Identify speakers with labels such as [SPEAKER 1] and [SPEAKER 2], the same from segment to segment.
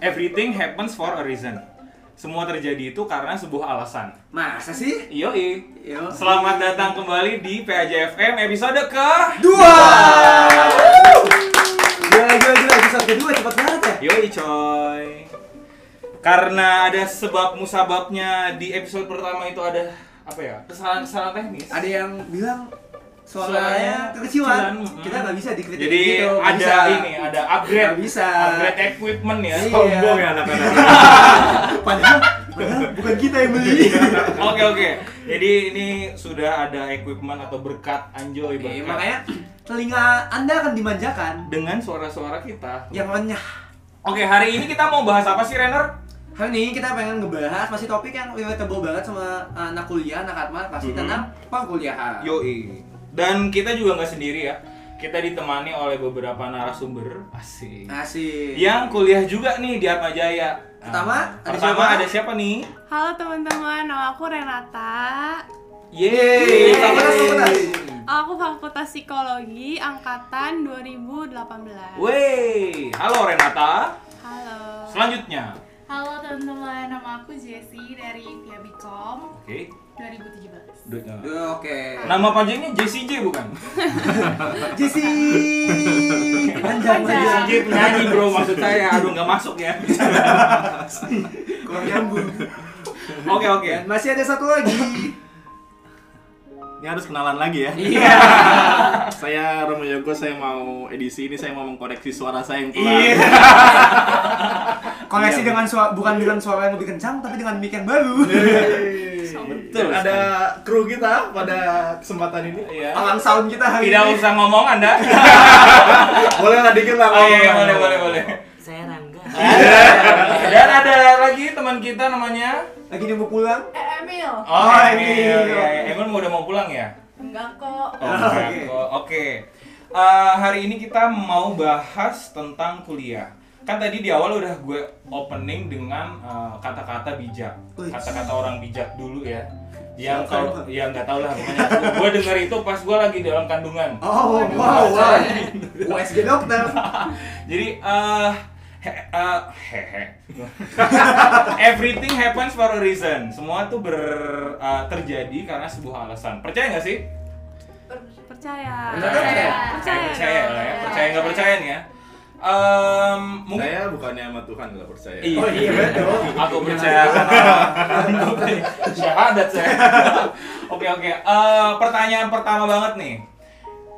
[SPEAKER 1] Everything happens for a reason. Semua terjadi itu karena sebuah alasan.
[SPEAKER 2] Masa sih?
[SPEAKER 1] Yoi.
[SPEAKER 2] Yo.
[SPEAKER 1] Selamat datang kembali di PAJFM episode ke
[SPEAKER 2] Dua. Gila gila gila episode kedua cepet banget ya.
[SPEAKER 1] Yoi coy. Karena ada sebab musababnya di episode pertama itu ada apa ya? Kesalahan-kesalahan teknis.
[SPEAKER 2] Ada yang bilang
[SPEAKER 1] Suaranya
[SPEAKER 2] suaranya kekecilan.
[SPEAKER 1] kekecilan,
[SPEAKER 2] Kita
[SPEAKER 1] mm.
[SPEAKER 2] nggak bisa dikritik
[SPEAKER 1] Jadi
[SPEAKER 2] gitu. nggak
[SPEAKER 1] ada
[SPEAKER 2] bisa.
[SPEAKER 1] ini, ada upgrade.
[SPEAKER 2] Nggak bisa.
[SPEAKER 1] Upgrade equipment ya.
[SPEAKER 2] Iya.
[SPEAKER 3] Sombong ya anak-anak.
[SPEAKER 2] Padahal, padahal bukan kita yang beli.
[SPEAKER 1] Oke oke. Jadi ini sudah ada equipment atau berkat anjoy
[SPEAKER 2] Oke,
[SPEAKER 1] berkat.
[SPEAKER 2] Iya, makanya telinga anda akan dimanjakan
[SPEAKER 1] dengan suara-suara kita.
[SPEAKER 2] yang renyah.
[SPEAKER 1] Ya. Oke, hari ini kita mau bahas apa sih, Renner?
[SPEAKER 2] Hari ini kita pengen ngebahas masih topik yang relatable banget sama anak kuliah, anak atma pasti
[SPEAKER 1] Mhm.
[SPEAKER 2] tentang perkuliahan.
[SPEAKER 1] Yoi. Dan kita juga nggak sendiri ya. Kita ditemani oleh beberapa narasumber asik.
[SPEAKER 2] Asik.
[SPEAKER 1] Yang kuliah juga nih di Atma Jaya.
[SPEAKER 2] Pertama,
[SPEAKER 1] ada
[SPEAKER 2] ada
[SPEAKER 1] pertama
[SPEAKER 2] siapa?
[SPEAKER 1] ada siapa nih?
[SPEAKER 4] Halo teman-teman, nama aku Renata.
[SPEAKER 1] Yeay.
[SPEAKER 2] Fakultas, fakultas.
[SPEAKER 4] Aku Fakultas Psikologi angkatan 2018.
[SPEAKER 1] Wey, halo Renata.
[SPEAKER 4] Halo.
[SPEAKER 1] Selanjutnya,
[SPEAKER 5] Halo teman-teman, nama aku Jessie dari Piabikom
[SPEAKER 1] oke.
[SPEAKER 5] 2017.
[SPEAKER 1] Du- uh,
[SPEAKER 2] Duh, Oke.
[SPEAKER 1] Nama panjangnya JCJ bukan?
[SPEAKER 2] Jesse.
[SPEAKER 1] Iya.
[SPEAKER 2] Panjang
[SPEAKER 5] Panjang.
[SPEAKER 1] JCJ penyanyi bro maksud saya. Aduh nggak masuk ya.
[SPEAKER 2] Kurang nyambung.
[SPEAKER 1] Oke oke.
[SPEAKER 2] Dan masih ada satu lagi.
[SPEAKER 3] Ini harus kenalan lagi ya.
[SPEAKER 2] Iya.
[SPEAKER 3] Saya Romo Yogo, saya mau edisi ini saya mau mengkoreksi suara saya yang
[SPEAKER 1] Iya.
[SPEAKER 3] pelan.
[SPEAKER 2] Koleksi dengan suara bukan dengan suara yang lebih kencang tapi dengan mic yang baru.
[SPEAKER 3] Betul. Ada kru kita pada kesempatan ini.
[SPEAKER 1] Iya.
[SPEAKER 2] Alang sound kita hari
[SPEAKER 1] Tidak
[SPEAKER 2] ini.
[SPEAKER 1] usah ngomong Anda.
[SPEAKER 3] Boleh lah dikit lah.
[SPEAKER 1] Oh iya, iya,
[SPEAKER 3] ngomong.
[SPEAKER 1] boleh boleh boleh.
[SPEAKER 6] Saya Rangga.
[SPEAKER 1] Dan ada lagi teman kita namanya
[SPEAKER 2] Lagi nunggu pulang.
[SPEAKER 5] Eh, Emil!
[SPEAKER 1] Oh,
[SPEAKER 2] iya.
[SPEAKER 1] Emil. Iya, iya. Emil udah mau pulang ya?
[SPEAKER 5] Enggak kok.
[SPEAKER 1] Oh,
[SPEAKER 2] Oke.
[SPEAKER 1] bukan. Oh, Oke. Eh, hari ini kita mau bahas tentang kuliah. Kan tadi di awal udah gue opening dengan eh, kata-kata bijak,
[SPEAKER 2] Wih.
[SPEAKER 1] kata-kata orang bijak dulu ya.
[SPEAKER 2] Silakan,
[SPEAKER 1] Yang kalau
[SPEAKER 2] Pak.
[SPEAKER 1] yang nggak tahu lah pokoknya. gue denger itu pas gue lagi dalam kandungan.
[SPEAKER 2] Oh, wow, wow. USG dokter.
[SPEAKER 1] Jadi eh he- eh, hehe. Everything happens for a reason. Semua tuh ber eh, terjadi karena sebuah alasan. Percaya nggak sih?
[SPEAKER 4] Percaya.
[SPEAKER 2] Percaya.
[SPEAKER 1] Percaya,
[SPEAKER 4] Percaya.
[SPEAKER 1] percaya lah ya.
[SPEAKER 4] dong.
[SPEAKER 1] Percaya nggak percaya nih ya. Em, mungkin
[SPEAKER 3] Saya bukannya sama Tuhan nggak percaya.
[SPEAKER 1] Iya.
[SPEAKER 2] Oh iya betul.
[SPEAKER 1] aku percaya. Aku percaya. Syahadat saya. Oke oke. Eh, pertanyaan pertama banget nih.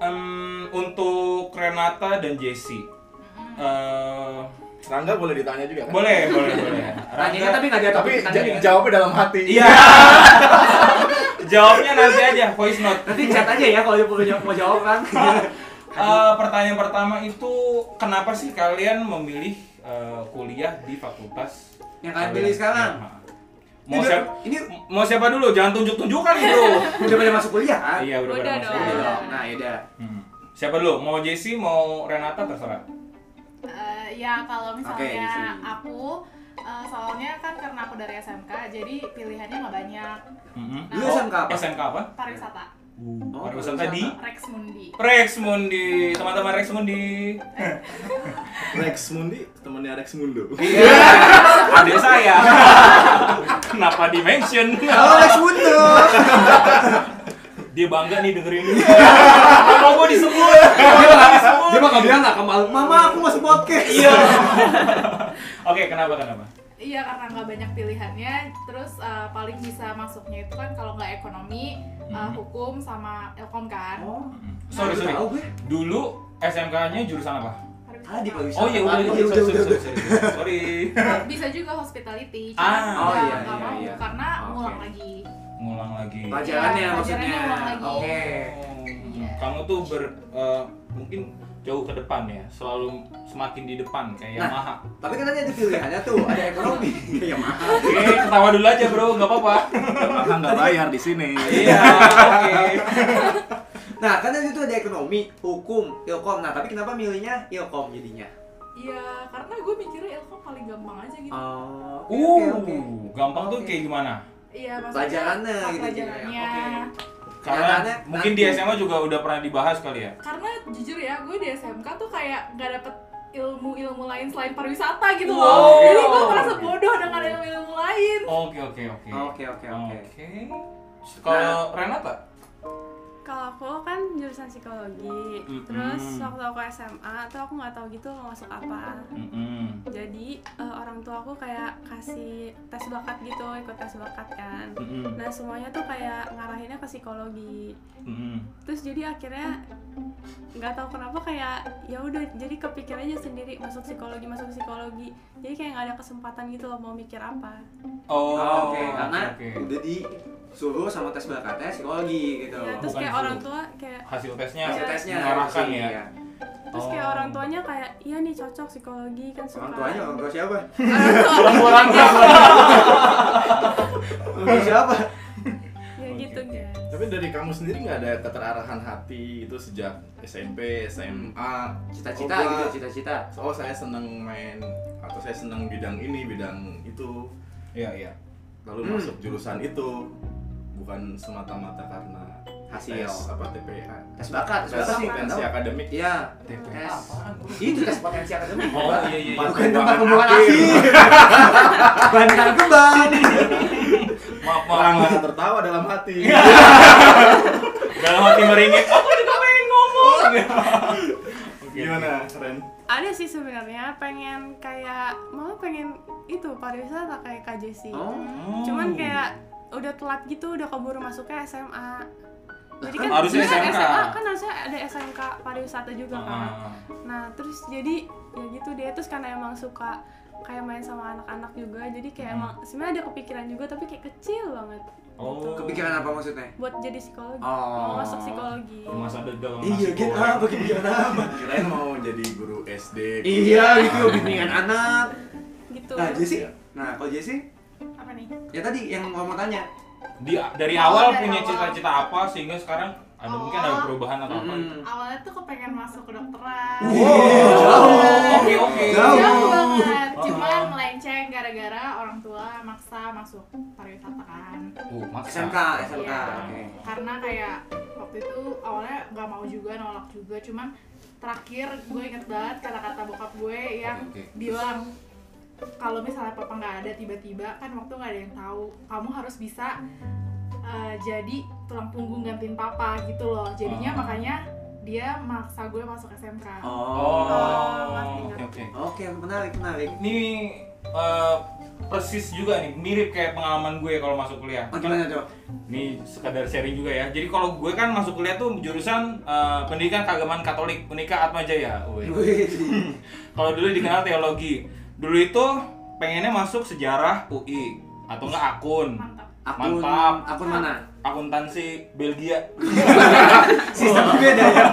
[SPEAKER 1] Em, untuk Renata dan Jesse. Eh,
[SPEAKER 3] Rangga boleh ditanya juga kan?
[SPEAKER 1] boleh boleh boleh.
[SPEAKER 2] Tanyanya
[SPEAKER 1] Rangga-
[SPEAKER 2] tapi nggak ada
[SPEAKER 3] Tapi
[SPEAKER 2] topik
[SPEAKER 3] jadi
[SPEAKER 2] pertanyaan.
[SPEAKER 3] jawabnya dalam hati.
[SPEAKER 1] Iya. Jawabnya nanti aja voice note.
[SPEAKER 2] Nanti chat aja ya kalau dia perlu jawab- mau jawab kan.
[SPEAKER 1] Eh, pertanyaan pertama itu kenapa sih kalian memilih eh, kuliah di fakultas
[SPEAKER 2] Yang kalian pilih sekarang?
[SPEAKER 1] Ya, ha. Mau
[SPEAKER 2] Ini-
[SPEAKER 1] siapa?
[SPEAKER 2] ini
[SPEAKER 1] mau siapa dulu? Jangan tunjuk-tunjukkan bro.
[SPEAKER 2] udah pada masuk kuliah kan?
[SPEAKER 1] iya udah
[SPEAKER 4] Udah
[SPEAKER 1] pada
[SPEAKER 4] dong.
[SPEAKER 1] masuk.
[SPEAKER 2] Udah dong. Nah, yaudah.
[SPEAKER 1] Hmm. Siapa dulu? Mau Jesse, mau Renata terserah.
[SPEAKER 5] Eh, ya kalau
[SPEAKER 2] Oke,
[SPEAKER 5] misalnya
[SPEAKER 2] Jessie.
[SPEAKER 5] aku, eh, soalnya kan karena aku dari SMK, jadi pilihannya nggak banyak.
[SPEAKER 1] Mhm.
[SPEAKER 2] Lu
[SPEAKER 1] Oh,
[SPEAKER 2] SMK apa?
[SPEAKER 1] SMK apa?
[SPEAKER 5] Pariwisata,
[SPEAKER 2] Oh,
[SPEAKER 1] Pariwisata di
[SPEAKER 5] Rex Mundi.
[SPEAKER 1] Rex Mundi. Teman-teman Rex Mundi.
[SPEAKER 3] Rex Mundi, temannya Rex Mundo.
[SPEAKER 1] Iya. Adik saya. Kenapa di mention?
[SPEAKER 2] Halo Lex Mundo.
[SPEAKER 1] dia bangga nih dengerin ini. Nama gue disebut.
[SPEAKER 2] Dia mah nggak bilang nggak ke malu. Mama aku masuk podcast.
[SPEAKER 1] Iya. Oke, kenapa kenapa?
[SPEAKER 5] Iya karena nggak banyak pilihannya, terus eh, paling bisa masuknya itu kan kalau nggak ekonomi, eh,
[SPEAKER 1] Mhm.
[SPEAKER 5] hukum sama ilkom kan.
[SPEAKER 2] Hmm. Oh,
[SPEAKER 1] Sorry sorry.
[SPEAKER 2] Tahu gue.
[SPEAKER 1] Dulu SMK-nya jurusan apa?
[SPEAKER 2] Ah, di
[SPEAKER 1] Oh
[SPEAKER 5] Pariwisata.
[SPEAKER 1] iya
[SPEAKER 2] Oh,
[SPEAKER 1] udah sorry,
[SPEAKER 2] iya,
[SPEAKER 1] sorry,
[SPEAKER 2] udah,
[SPEAKER 1] sorry, sorry, sorry. Sorry.
[SPEAKER 5] bisa juga hospitality
[SPEAKER 1] Ah.
[SPEAKER 5] cuman
[SPEAKER 1] Oh,
[SPEAKER 5] nggak-
[SPEAKER 2] iya,
[SPEAKER 5] nggak
[SPEAKER 2] iya,
[SPEAKER 5] mau
[SPEAKER 2] iya.
[SPEAKER 5] karena
[SPEAKER 2] Oke.
[SPEAKER 5] ngulang lagi
[SPEAKER 1] Ngulang lagi.
[SPEAKER 2] Pelajarannya
[SPEAKER 5] Iya,
[SPEAKER 2] maksudnya.
[SPEAKER 5] pelajarannya ulang lagi.
[SPEAKER 2] Oke.
[SPEAKER 1] Hmm, Kamu tuh ber eh, mungkin jauh ke depan ya, selalu semakin di depan kayak
[SPEAKER 2] Nah.
[SPEAKER 1] Yamaha.
[SPEAKER 2] Tapi kan tadi ada pilihannya tuh, ada ekonomi. Ya mahal.
[SPEAKER 1] Oke, ketawa dulu aja bro, nggak apa-apa.
[SPEAKER 3] Rangga nggak bayar di sini.
[SPEAKER 1] Iya, oke.
[SPEAKER 2] Nah, kan tadi itu ada ekonomi, hukum, ilkom. Nah, tapi kenapa milihnya ilkom jadinya?
[SPEAKER 5] Iya, karena gue mikirnya ilkom paling gampang aja gitu.
[SPEAKER 2] Oh, oke,
[SPEAKER 1] Uh,
[SPEAKER 2] oke, oke.
[SPEAKER 1] gampang tuh
[SPEAKER 2] Oke.
[SPEAKER 1] kayak gimana?
[SPEAKER 5] Iya, maksudnya
[SPEAKER 2] Pelajarannya gitu,
[SPEAKER 5] Pelajarannya.
[SPEAKER 2] gitu ya.
[SPEAKER 1] Karena
[SPEAKER 2] Karena
[SPEAKER 1] mungkin di
[SPEAKER 2] nanti-
[SPEAKER 1] SMA juga udah pernah dibahas kali ya.
[SPEAKER 5] Karena jujur ya, gue di SMK tuh kayak nggak dapet ilmu-ilmu lain selain pariwisata gitu
[SPEAKER 1] Wow.
[SPEAKER 5] loh. Jadi gue merasa bodoh dengan ilmu-ilmu lain.
[SPEAKER 1] Oke oke oke.
[SPEAKER 2] Oke oke oke.
[SPEAKER 1] Oke. Nah, Kalau Renata?
[SPEAKER 4] Kalau aku kan jurusan psikologi.
[SPEAKER 1] Mm-mm.
[SPEAKER 4] Terus waktu aku SMA tuh aku nggak tahu gitu mau masuk apa.
[SPEAKER 1] Mm-mm.
[SPEAKER 4] Jadi eh, orang tua aku kayak kasih tes bakat gitu, ikut tes bakat kan.
[SPEAKER 1] Mm-mm.
[SPEAKER 4] Nah semuanya tuh kayak ngarahinnya ke psikologi.
[SPEAKER 1] Mm-mm.
[SPEAKER 4] Terus jadi akhirnya nggak tahu kenapa kayak ya udah jadi kepikir aja sendiri masuk psikologi masuk psikologi. Jadi kayak nggak ada kesempatan gitu loh mau mikir apa.
[SPEAKER 1] Oh,
[SPEAKER 2] Oh, Oke, karena
[SPEAKER 1] oke.
[SPEAKER 2] udah disuruh sama tes bakatnya psikologi gitu.
[SPEAKER 4] Ya, terus
[SPEAKER 1] Bukan
[SPEAKER 4] kayak
[SPEAKER 1] suruh.
[SPEAKER 4] orang tua kayak
[SPEAKER 1] hasil tesnya
[SPEAKER 2] Hasil tesnya
[SPEAKER 1] mengarahkan
[SPEAKER 2] sih,
[SPEAKER 1] ya.
[SPEAKER 2] iya.
[SPEAKER 4] terus kayak
[SPEAKER 1] Oh.
[SPEAKER 4] orang tuanya kayak iya nih cocok psikologi kan suka.
[SPEAKER 2] Orang tuanya orang tua siapa?
[SPEAKER 1] Orang tua langsung.
[SPEAKER 2] Orang tua siapa?
[SPEAKER 4] Ya
[SPEAKER 1] Oke,
[SPEAKER 4] gitu
[SPEAKER 1] oke.
[SPEAKER 4] guys.
[SPEAKER 3] Tapi dari kamu sendiri nggak ada keterarahan hati itu sejak SMP, SMA?
[SPEAKER 2] Cita-cita
[SPEAKER 3] Oh,
[SPEAKER 2] gitu,
[SPEAKER 3] gua-
[SPEAKER 2] cita-cita.
[SPEAKER 3] Oh saya seneng main atau saya seneng bidang ini bidang itu
[SPEAKER 1] Iya, iya.
[SPEAKER 3] lalu
[SPEAKER 2] Hmm.
[SPEAKER 3] masuk jurusan itu bukan semata-mata karena
[SPEAKER 2] Hasil.
[SPEAKER 3] tes apa TPA
[SPEAKER 2] Tes bakat, tes
[SPEAKER 3] tes
[SPEAKER 2] bakat sih kan
[SPEAKER 3] potensi akademik
[SPEAKER 2] Iya.
[SPEAKER 1] TPA
[SPEAKER 2] Tes.
[SPEAKER 1] apaan?
[SPEAKER 2] Itu tes potensi akademik.
[SPEAKER 1] Oh, iya iya. iya.
[SPEAKER 3] Empat
[SPEAKER 2] Bukan tempat
[SPEAKER 3] kembangan
[SPEAKER 2] pembuangan
[SPEAKER 3] akhir.
[SPEAKER 2] akhir. Bantar kembang.
[SPEAKER 1] Maaf,
[SPEAKER 3] orang
[SPEAKER 1] maaf.
[SPEAKER 3] nggak tertawa dalam hati
[SPEAKER 1] Iya. Dalam hati Iya. meringik. Aku juga pengen ngomong. Oke, oke.
[SPEAKER 3] gimana keren
[SPEAKER 4] Ada sih sebenarnya pengen kayak mau pengen itu pariwisata kayak Kak Jesse.
[SPEAKER 2] Oh.
[SPEAKER 4] Cuman kayak udah telat gitu, udah keburu masuknya SMA. Jadi kan
[SPEAKER 1] Harusnya
[SPEAKER 4] dulu kan
[SPEAKER 1] SMK.
[SPEAKER 4] SMA kan harusnya ada SMK pariwisata juga kan.
[SPEAKER 1] Ah.
[SPEAKER 4] Nah, terus jadi ya gitu dia terus karena emang suka kayak main sama anak-anak juga. Jadi kayak
[SPEAKER 1] Hmm.
[SPEAKER 4] emang sebenarnya ada kepikiran juga tapi kayak kecil banget
[SPEAKER 1] Oh.
[SPEAKER 2] Kepikiran apa maksudnya?
[SPEAKER 4] buat jadi psikologi.
[SPEAKER 2] Oh.
[SPEAKER 4] Mau masuk psikologi.
[SPEAKER 1] Masa dodol
[SPEAKER 2] Iya,
[SPEAKER 1] nasi
[SPEAKER 2] gitu
[SPEAKER 1] goreng.
[SPEAKER 2] apa kepikiran apa?
[SPEAKER 3] keren mau jadi guru gitu. SD
[SPEAKER 2] Iya, itu bimbingan anak.
[SPEAKER 4] Gitu.
[SPEAKER 2] Nah, Jesse.
[SPEAKER 3] Iya.
[SPEAKER 2] Nah, kalau Jesse
[SPEAKER 5] Apa nih?
[SPEAKER 2] ya tadi yang gua mau tanya.
[SPEAKER 1] Di, Iya, dari
[SPEAKER 5] Oh,
[SPEAKER 1] awal Oh.
[SPEAKER 5] dari
[SPEAKER 1] punya
[SPEAKER 5] awal.
[SPEAKER 1] cita-cita apa sehingga sekarang ada mungkin ada
[SPEAKER 5] Awal.
[SPEAKER 1] perubahan atau apa? gitu.
[SPEAKER 2] Mm-mm.
[SPEAKER 5] Awalnya tuh kepengen masuk kedokteran.
[SPEAKER 1] Oh,
[SPEAKER 2] Wow. Oh, Jauh.
[SPEAKER 1] Iya. Oke, oke.
[SPEAKER 2] Jauh.
[SPEAKER 5] Jauh banget.
[SPEAKER 1] Oh.
[SPEAKER 5] Cuman melenceng gara-gara orang tua maksa masuk pariwisata kan.
[SPEAKER 1] Oh, maksa.
[SPEAKER 2] SMK, SMK.
[SPEAKER 5] Iya.
[SPEAKER 2] Oke.
[SPEAKER 5] karena kayak waktu itu awalnya nggak mau juga nolak juga cuman terakhir gue inget banget kata-kata bokap gue yang
[SPEAKER 1] Oke, oke.
[SPEAKER 5] bilang kalau misalnya papa nggak ada tiba-tiba kan waktu nggak ada yang tahu kamu harus bisa uh, jadi tulang punggung gantiin papa gitu loh jadinya
[SPEAKER 1] Ah.
[SPEAKER 5] makanya dia maksa gue masuk SMK
[SPEAKER 1] Oh,
[SPEAKER 4] ngerti,
[SPEAKER 1] oke
[SPEAKER 4] ngerti.
[SPEAKER 1] oke.
[SPEAKER 2] Oke, menarik, menarik.
[SPEAKER 1] Ini eh, persis juga nih, mirip kayak pengalaman gue kalau masuk kuliah.
[SPEAKER 2] Oh, gimana coba?
[SPEAKER 1] Nih sekadar sharing juga ya. Jadi kalau gue kan masuk kuliah tuh jurusan eh, pendidikan keagamaan Katolik Unika Atmajaya. Wih.
[SPEAKER 2] Wih.
[SPEAKER 1] Kalau dulu dikenal teologi. Dulu itu pengennya masuk sejarah UI atau enggak akun.
[SPEAKER 5] mantap
[SPEAKER 2] Akun,
[SPEAKER 1] Mantap.
[SPEAKER 2] akun mana?
[SPEAKER 1] Akuntansi Belgia.
[SPEAKER 2] Sistemnya beda ya.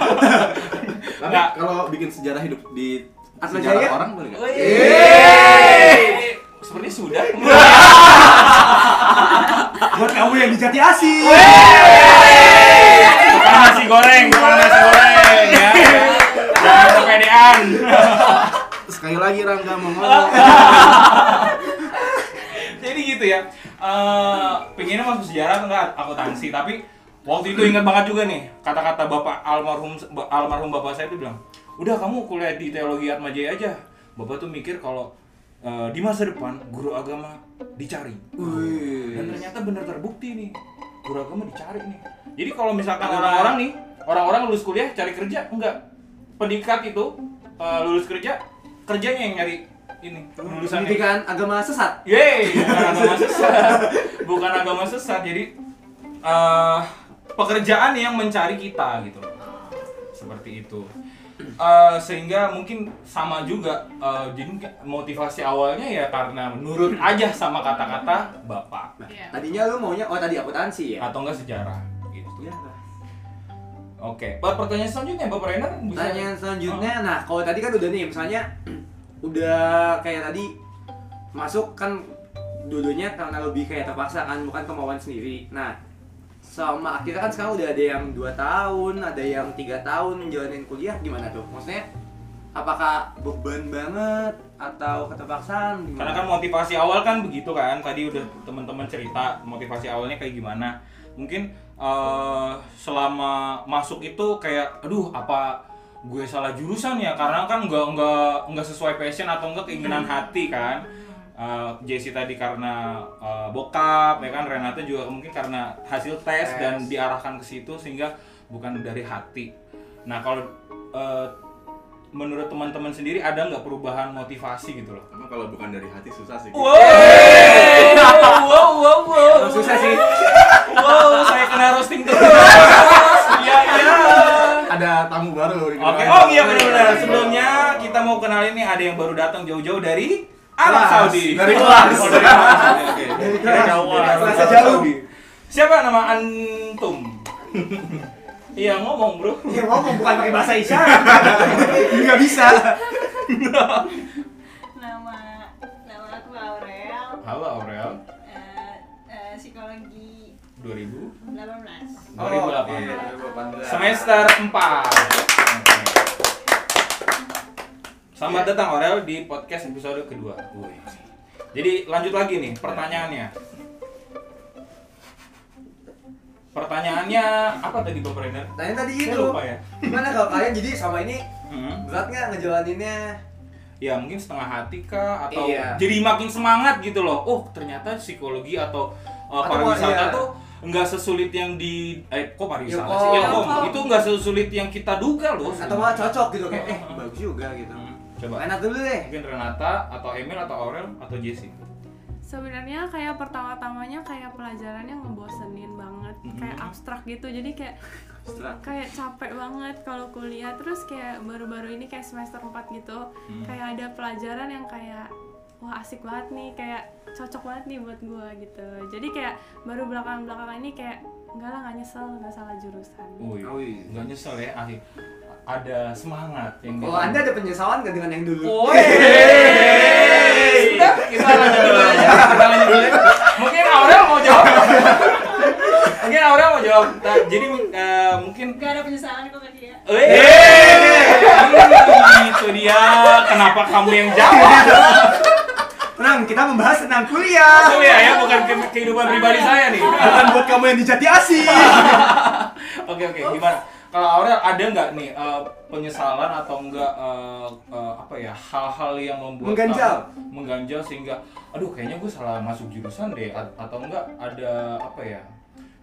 [SPEAKER 3] tapi
[SPEAKER 1] Nggak.
[SPEAKER 3] kalau bikin sejarah hidup di
[SPEAKER 2] Atma
[SPEAKER 3] sejarah
[SPEAKER 2] Jaya?
[SPEAKER 3] orang boleh nggak
[SPEAKER 1] Yeay! Sepertinya sudah.
[SPEAKER 2] Buat kamu yang di Jati Asih.
[SPEAKER 1] Bukan nasi goreng, bukan nasi goreng ya. Jangan kepedean.
[SPEAKER 3] sekali lagi Rangga mau ngomong
[SPEAKER 1] Jadi gitu ya. Eh, pengennya masuk sejarah atau enggak akuntansi, tapi waktu itu ingat banget juga nih kata-kata bapak almarhum almarhum bapak saya itu bilang, "Udah kamu kuliah di teologi Atmajaya aja." Bapak tuh mikir kalau eh, di masa depan guru agama dicari. Dan
[SPEAKER 2] Wih.
[SPEAKER 1] ternyata bener terbukti nih. Guru agama dicari nih. Jadi kalau misalkan orang-orang nih, orang-orang lulus kuliah cari kerja enggak. Pendikat itu eh, lulus kerja kerjanya yang nyari ini lulusan ini.
[SPEAKER 2] Pendidikan agama sesat.
[SPEAKER 1] Yeay, bukan agama sesat. Bukan agama sesat. Jadi eh pekerjaan yang mencari kita gitu loh. Seperti itu. Eh, sehingga mungkin sama juga eh, jadi motivasi awalnya ya karena menurut aja sama kata-kata bapak
[SPEAKER 5] Iya.
[SPEAKER 2] Tadinya lu maunya oh tadi akuntansi ya.
[SPEAKER 1] atau enggak sejarah gitu.
[SPEAKER 2] Ya.
[SPEAKER 1] Oke, Pak, pertanyaan selanjutnya Bapak Rainer bisa Oh.
[SPEAKER 2] Pertanyaan selanjutnya, nah kalau tadi kan udah nih, misalnya udah kayak tadi masuk kan dulunya karena lebih kayak terpaksa kan, bukan kemauan sendiri. Nah, sama akhirnya kan sekarang udah ada yang dua tahun, ada yang tiga tahun menjalanin kuliah, gimana tuh? Maksudnya apakah beban banget atau keterpaksaan? Gimana?
[SPEAKER 1] Karena kan motivasi awal kan begitu kan, tadi udah teman-teman cerita motivasi awalnya kayak gimana. Mungkin eh, selama masuk itu kayak, aduh apa gue salah jurusan ya karena kan nggak nggak nggak sesuai passion atau enggak keinginan
[SPEAKER 2] Hmm.
[SPEAKER 1] hati kan Eh, Jesse tadi karena eh, bokap ya kan Renata juga mungkin karena hasil tes
[SPEAKER 2] Tes.
[SPEAKER 1] dan diarahkan ke situ sehingga bukan dari hati nah kalau eh, menurut teman-teman sendiri ada nggak perubahan motivasi gitu loh
[SPEAKER 3] Emang kalau bukan dari hati susah sih.
[SPEAKER 1] Wow, wow, wow, wow.
[SPEAKER 2] Emang susah sih
[SPEAKER 1] Wow, saya kena roasting terus. Iya, iya.
[SPEAKER 3] Ada tamu baru.
[SPEAKER 1] Oke, oh iya benar-benar. Sebelumnya kita mau kenalin nih ada yang baru datang jauh-jauh dari Arab
[SPEAKER 3] Kelas.
[SPEAKER 1] Saudi.
[SPEAKER 3] Dari kelas.
[SPEAKER 1] Oh, dari kelas. Oke, oke.
[SPEAKER 2] Dari
[SPEAKER 1] Dari
[SPEAKER 2] kelas.
[SPEAKER 1] jauh.
[SPEAKER 2] Dari kelas
[SPEAKER 1] Arab
[SPEAKER 2] jauh.
[SPEAKER 1] Saudi. Siapa nama antum? Iya ngomong bro.
[SPEAKER 2] Ya ngomong bukan pakai bahasa isyarat Nggak bisa
[SPEAKER 6] nama nama aku Aurel
[SPEAKER 1] Halo Aurel.
[SPEAKER 6] eh, eh, psikologi
[SPEAKER 1] 2000
[SPEAKER 6] 18
[SPEAKER 1] Oh, 2008.
[SPEAKER 2] Oh,
[SPEAKER 1] Semester
[SPEAKER 2] Iya.
[SPEAKER 1] 4 Selamat datang Aurel di podcast episode kedua Woi. Jadi lanjut lagi nih
[SPEAKER 2] Iya.
[SPEAKER 1] pertanyaannya Pertanyaannya apa tadi Bang Brandon?
[SPEAKER 2] Tanya tadi
[SPEAKER 1] Saya
[SPEAKER 2] itu
[SPEAKER 1] lupa ya
[SPEAKER 2] Gimana kalau kalian jadi sama ini
[SPEAKER 1] Hmm.
[SPEAKER 2] berat nggak ngejalaninnya?
[SPEAKER 1] Ya mungkin setengah hati kah atau
[SPEAKER 2] Iya.
[SPEAKER 1] jadi makin semangat gitu loh Oh ternyata psikologi atau uh,
[SPEAKER 2] Atau, iya.
[SPEAKER 1] pariwisata tuh nggak sesulit yang di eh kok pariwisata
[SPEAKER 2] Ilkom.
[SPEAKER 1] sih Ilkom.
[SPEAKER 4] Ilkom.
[SPEAKER 1] itu nggak sesulit yang kita duga loh
[SPEAKER 2] oh. Atau malah cocok gitu kayak eh
[SPEAKER 1] Hmm.
[SPEAKER 2] bagus juga gitu.
[SPEAKER 1] Oh, Hmm, coba
[SPEAKER 2] Enak dulu deh.
[SPEAKER 1] mungkin Renata atau Emil atau Aurel atau Jesse
[SPEAKER 4] sebenarnya kayak pertama-tamanya kayak pelajarannya ngebosenin banget
[SPEAKER 3] Mm-hmm.
[SPEAKER 1] Mhm.
[SPEAKER 4] kayak abstrak gitu jadi kayak
[SPEAKER 2] Abstrak.
[SPEAKER 4] kayak capek banget kalau kuliah terus kayak baru-baru ini kayak semester 4 gitu
[SPEAKER 3] Mm.
[SPEAKER 1] Hmm.
[SPEAKER 4] kayak ada pelajaran yang kayak wah asik banget nih kayak cocok banget nih buat gua gitu jadi kayak baru belakangan-belakangan ini kayak enggak lah nggak nyesel nggak salah jurusan
[SPEAKER 3] Mm.
[SPEAKER 1] Wih,
[SPEAKER 2] Oh, iya.
[SPEAKER 1] nggak nyesel ya akhir ada semangat yang
[SPEAKER 2] Kalau Oh, anda ada penyesalan nggak dengan yang dulu?
[SPEAKER 1] Woi, sudah kita lanjut dulu aja. Kita lanjut dulu. ya. Mungkin Aurel mau jawab. mungkin Aurel mau jawab. Nah, jadi eh, mungkin
[SPEAKER 6] gak ada penyesalan kok ya? ke dia
[SPEAKER 1] Eh, itu dia. Kenapa kamu yang jawab?
[SPEAKER 2] Tenang, kita membahas tentang kuliah.
[SPEAKER 1] Itu ya, ya bukan ke- kehidupan pribadi saya nih.
[SPEAKER 2] Bukan buat kamu yang dijati asih.
[SPEAKER 1] Oke oke gimana? Kalau Aurel ada nggak nih eh, penyesalan atau enggak eh, eh, apa ya hal-hal yang membuat
[SPEAKER 2] Mengganjal.
[SPEAKER 1] kamu mengganjal sehingga aduh kayaknya gue salah masuk jurusan deh A- atau enggak ada apa ya?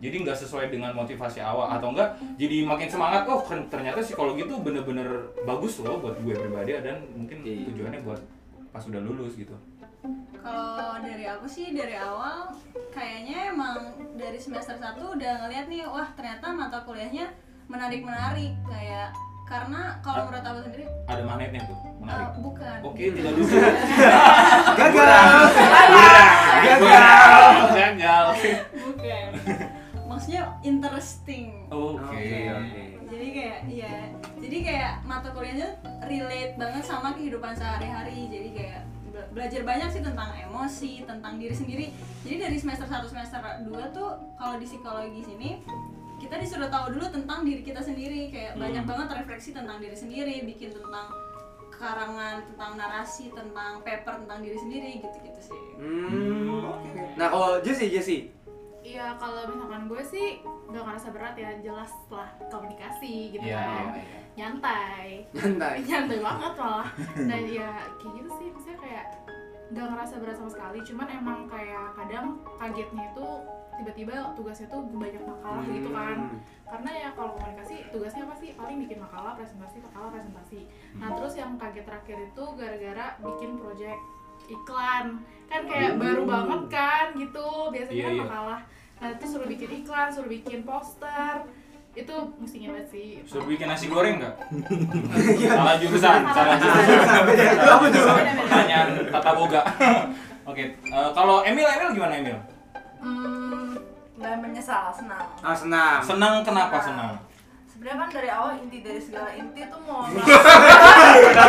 [SPEAKER 1] Jadi nggak sesuai dengan motivasi awal atau enggak jadi makin semangat oh keren- ternyata psikologi itu bener-bener bagus loh buat gue pribadi dan mungkin
[SPEAKER 2] Iya.
[SPEAKER 1] tujuannya buat pas udah lulus gitu.
[SPEAKER 6] kalau dari aku sih dari awal kayaknya emang dari semester 1 udah ngeliat nih wah ternyata mata kuliahnya menarik menarik kayak karena kalau menurut aku sendiri
[SPEAKER 1] Ada magnetnya tuh
[SPEAKER 6] eh,
[SPEAKER 1] menarik.
[SPEAKER 6] bukan
[SPEAKER 1] Oke tidak lucu.
[SPEAKER 2] Gagal.
[SPEAKER 1] Gagal. Gagal.
[SPEAKER 6] bukan maksudnya
[SPEAKER 1] Oh,
[SPEAKER 6] interesting
[SPEAKER 1] Oke.
[SPEAKER 6] jadi kayak ya jadi kayak mata kuliahnya relate banget sama kehidupan sehari-hari jadi kayak be- belajar banyak sih tentang emosi tentang diri sendiri jadi dari semester 1 semester 2 tuh kalau di psikologi sini kita disuruh tahu dulu tentang diri kita sendiri kayak
[SPEAKER 1] Hmm.
[SPEAKER 6] banyak banget refleksi tentang diri sendiri bikin tentang karangan tentang narasi tentang paper tentang diri sendiri gitu-gitu sih
[SPEAKER 2] Hmm. oke. Nah, kalau Jesse, Jesse.
[SPEAKER 5] Iya kalau misalkan gue sih gak ngerasa berat ya jelas setelah komunikasi gitu
[SPEAKER 1] Iya,
[SPEAKER 5] kan
[SPEAKER 1] iya, iya.
[SPEAKER 5] nyantai
[SPEAKER 2] Santai.
[SPEAKER 5] nyantai banget malah dan ya kayak gitu sih maksudnya kayak gak ngerasa berat sama sekali cuman emang kayak kadang kagetnya itu tiba-tiba tugasnya tuh banyak makalah gitu
[SPEAKER 1] Hmm.
[SPEAKER 5] kan karena ya kalau komunikasi tugasnya apa sih paling bikin makalah presentasi makalah presentasi nah
[SPEAKER 1] Hmm.
[SPEAKER 5] terus yang kaget terakhir itu gara-gara bikin project iklan kan kayak baru banget kan gitu biasanya
[SPEAKER 1] Hmm. Iya,
[SPEAKER 5] kan
[SPEAKER 1] iya.
[SPEAKER 5] makalah nah itu suruh bikin iklan suruh bikin poster itu mesti banget sih
[SPEAKER 1] Suruh bikin nasi goreng nggak? salah jurusan, Iya. salah jurusan.
[SPEAKER 2] Sampai deh. Itu apa tuh?
[SPEAKER 1] Pertanyaan tata boga. Oke, eh, kalau Emil, Emil gimana Emil?
[SPEAKER 7] Hmm, dan menyesal, senang.
[SPEAKER 2] Ah, senang.
[SPEAKER 1] Senang kenapa senang?
[SPEAKER 7] Sebenarnya kan dari awal inti dari segala inti tuh mau
[SPEAKER 1] Oke,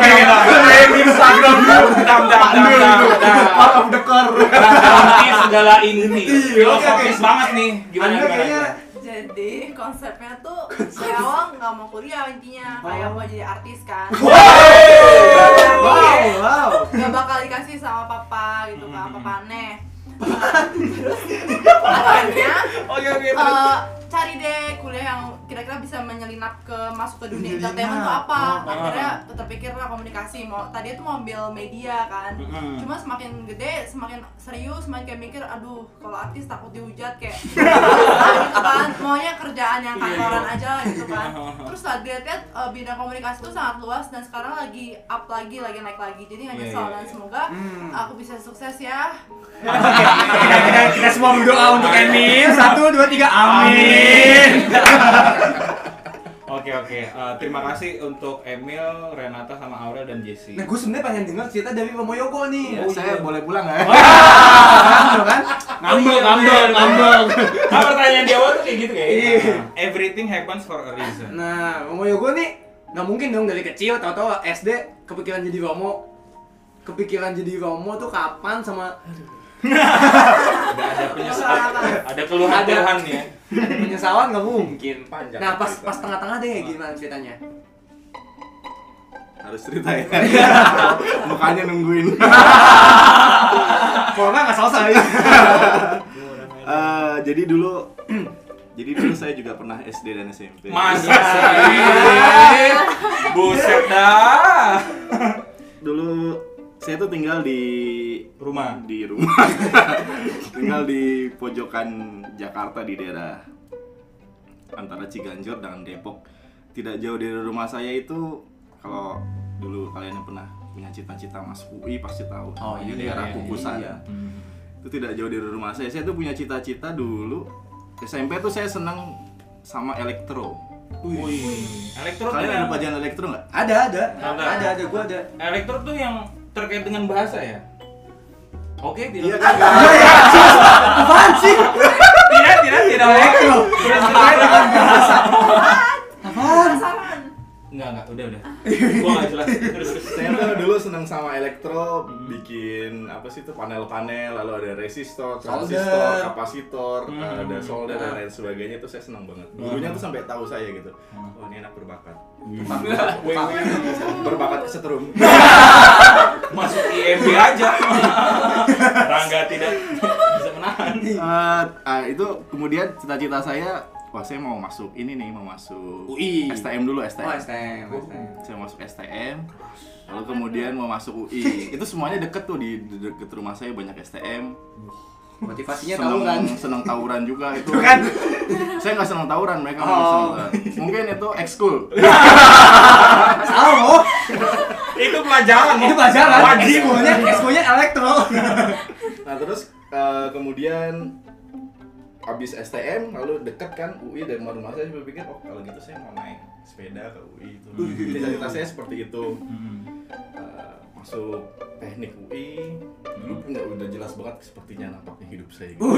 [SPEAKER 3] Iya.
[SPEAKER 1] Instagram dulu. Dam, dam, dam, dam, dam.
[SPEAKER 3] Out Iya. of the core.
[SPEAKER 1] Dam, dam, inti segala inti. Filosofis
[SPEAKER 2] oke.
[SPEAKER 1] banget nih. Gimana?
[SPEAKER 2] Anda
[SPEAKER 1] gimana?
[SPEAKER 2] kayaknya
[SPEAKER 7] jadi konsepnya tuh dari awal nggak mau kuliah intinya
[SPEAKER 1] Oh.
[SPEAKER 7] kayak mau jadi artis kan
[SPEAKER 2] wow, wow.
[SPEAKER 7] nggak bakal dikasih sama papa gitu
[SPEAKER 1] Hmm.
[SPEAKER 7] kan papa aneh terus akhirnya
[SPEAKER 1] Oke, oke.
[SPEAKER 7] eh, cari deh kuliah yang kira-kira bisa menyelinap ke masuk ke dunia
[SPEAKER 3] Menyelinap.
[SPEAKER 7] entertainment tuh apa
[SPEAKER 1] Oh,
[SPEAKER 7] akhirnya terpikir lah komunikasi mau tadi itu mau ambil media kan
[SPEAKER 1] Mm-mm.
[SPEAKER 7] cuma semakin gede semakin serius semakin kayak mikir aduh kalau artis takut dihujat kayak ah, gitu kan maunya kerjaan
[SPEAKER 1] Iya,
[SPEAKER 7] yang kantoran aja gitu kan terus saat dilihat eh, bidang komunikasi itu sangat luas dan sekarang lagi up lagi lagi naik lagi jadi hanya
[SPEAKER 1] Iya,
[SPEAKER 7] nyesel
[SPEAKER 1] iya,
[SPEAKER 7] dan
[SPEAKER 1] iya.
[SPEAKER 7] semoga aku bisa sukses ya
[SPEAKER 2] kita, kita, kita semua berdoa untuk Emil. Satu, dua, tiga, amin.
[SPEAKER 1] Oke oke, Eh, terima kasih untuk Emil, Renata sama Aurel dan Jesse.
[SPEAKER 2] Nah, gue sebenarnya pengen dengar cerita dari Momoyoko nih. Oh, iya.
[SPEAKER 3] Ya, saya boleh pulang nggak?
[SPEAKER 2] Tahu kan?
[SPEAKER 1] Ngambek, ngambek, ngambek. Ah iya, pertanyaan di awal tuh kayak gitu kayak.
[SPEAKER 2] Iya.
[SPEAKER 1] Everything happens for a reason.
[SPEAKER 2] Nah, Momoyoko nih nggak mungkin dong dari kecil tahu-tahu SD kepikiran jadi Romo. Kepikiran jadi Romo tuh kapan sama
[SPEAKER 1] Ada ada
[SPEAKER 2] nah,
[SPEAKER 1] penyesalan,
[SPEAKER 7] Apa?
[SPEAKER 1] ada keluhan-keluhan ya.
[SPEAKER 2] penyesalan nggak mungkin.
[SPEAKER 3] Panjang
[SPEAKER 2] Nah, pas
[SPEAKER 3] cerita.
[SPEAKER 2] pas tengah-tengah deh kayak gimana ceritanya?
[SPEAKER 3] Harus cerita ya. Makanya nungguin.
[SPEAKER 2] Kalau nggak nggak selesai.
[SPEAKER 3] Eh, jadi dulu jadi dulu saya juga pernah SD dan SMP.
[SPEAKER 1] Masa
[SPEAKER 2] Iya.
[SPEAKER 1] sih? Buset dah.
[SPEAKER 3] Dulu saya tuh tinggal di
[SPEAKER 1] Rumah.
[SPEAKER 3] di rumah. tinggal di pojokan Jakarta di daerah antara Ciganjur dan Depok. Tidak jauh dari rumah saya itu kalau dulu kalian yang pernah punya cita-cita masuk UI pasti tahu.
[SPEAKER 2] Oh,
[SPEAKER 3] Namanya
[SPEAKER 2] iya,
[SPEAKER 3] daerah
[SPEAKER 2] iya,
[SPEAKER 3] Kukusan.
[SPEAKER 2] iya.
[SPEAKER 3] Itu tidak jauh dari rumah saya. Saya tuh punya cita-cita dulu SMP tuh saya seneng sama elektro.
[SPEAKER 1] Wih. Elektro tuh
[SPEAKER 3] Kalian ada
[SPEAKER 1] yang-
[SPEAKER 3] pelajaran elektro nggak?
[SPEAKER 2] Ada, ada.
[SPEAKER 1] Ada.
[SPEAKER 2] Ada, ada, gua ada.
[SPEAKER 1] Elektro tuh yang terkait dengan bahasa ya. Oke, tidak.
[SPEAKER 2] Iya, kan? Apaan sih?
[SPEAKER 1] tidak, tidak, tidak. ya.
[SPEAKER 2] Elektro.
[SPEAKER 1] Tidak,
[SPEAKER 2] Terkait
[SPEAKER 1] tidak.
[SPEAKER 2] dengan bahasa. Apaan?
[SPEAKER 1] Enggak, enggak, udah, udah. Gua enggak jelas. Terus, terus.
[SPEAKER 3] saya tuh dulu seneng sama elektro bikin apa sih itu panel-panel lalu ada resistor,
[SPEAKER 2] Solder.
[SPEAKER 3] transistor, kapasitor,
[SPEAKER 1] Hmm.
[SPEAKER 3] ada solder dan lain sebagainya itu saya seneng banget. Gurunya tuh sampai tahu saya gitu. Oh ini anak berbakat.
[SPEAKER 1] Wih, wih.
[SPEAKER 3] Berbakat kesetrum.
[SPEAKER 1] Masuk IMB aja. Rangga tidak bisa menahan.
[SPEAKER 3] Eh, ah, itu kemudian cita-cita saya wah saya mau masuk ini nih mau masuk
[SPEAKER 2] UI.
[SPEAKER 3] STM dulu STM.
[SPEAKER 2] Oh, STM, STM.
[SPEAKER 3] saya masuk STM lalu kemudian mau masuk UI itu semuanya deket tuh di di deket rumah saya banyak STM
[SPEAKER 2] Motivasinya tahu
[SPEAKER 3] seneng
[SPEAKER 2] kan?
[SPEAKER 3] seneng tawuran juga itu
[SPEAKER 2] Tuh kan?
[SPEAKER 3] saya nggak seneng tawuran mereka
[SPEAKER 2] Oh.
[SPEAKER 3] nggak seneng tawuran. mungkin itu ekskul
[SPEAKER 2] Salah loh.
[SPEAKER 1] Itu pelajaran.
[SPEAKER 2] Ini pelajaran.
[SPEAKER 1] Wajib.
[SPEAKER 2] Ekskulnya, ekskulnya elektro.
[SPEAKER 3] nah terus eh, kemudian habis STM lalu deket kan UI dan rumah rumah saya berpikir oh kalau gitu saya mau naik sepeda ke UI itu cita-cita saya seperti itu
[SPEAKER 1] Hmm.
[SPEAKER 3] Eh, masuk teknik UI dulu
[SPEAKER 1] Hmm.
[SPEAKER 3] nggak udah jelas banget sepertinya nampaknya hidup saya gitu.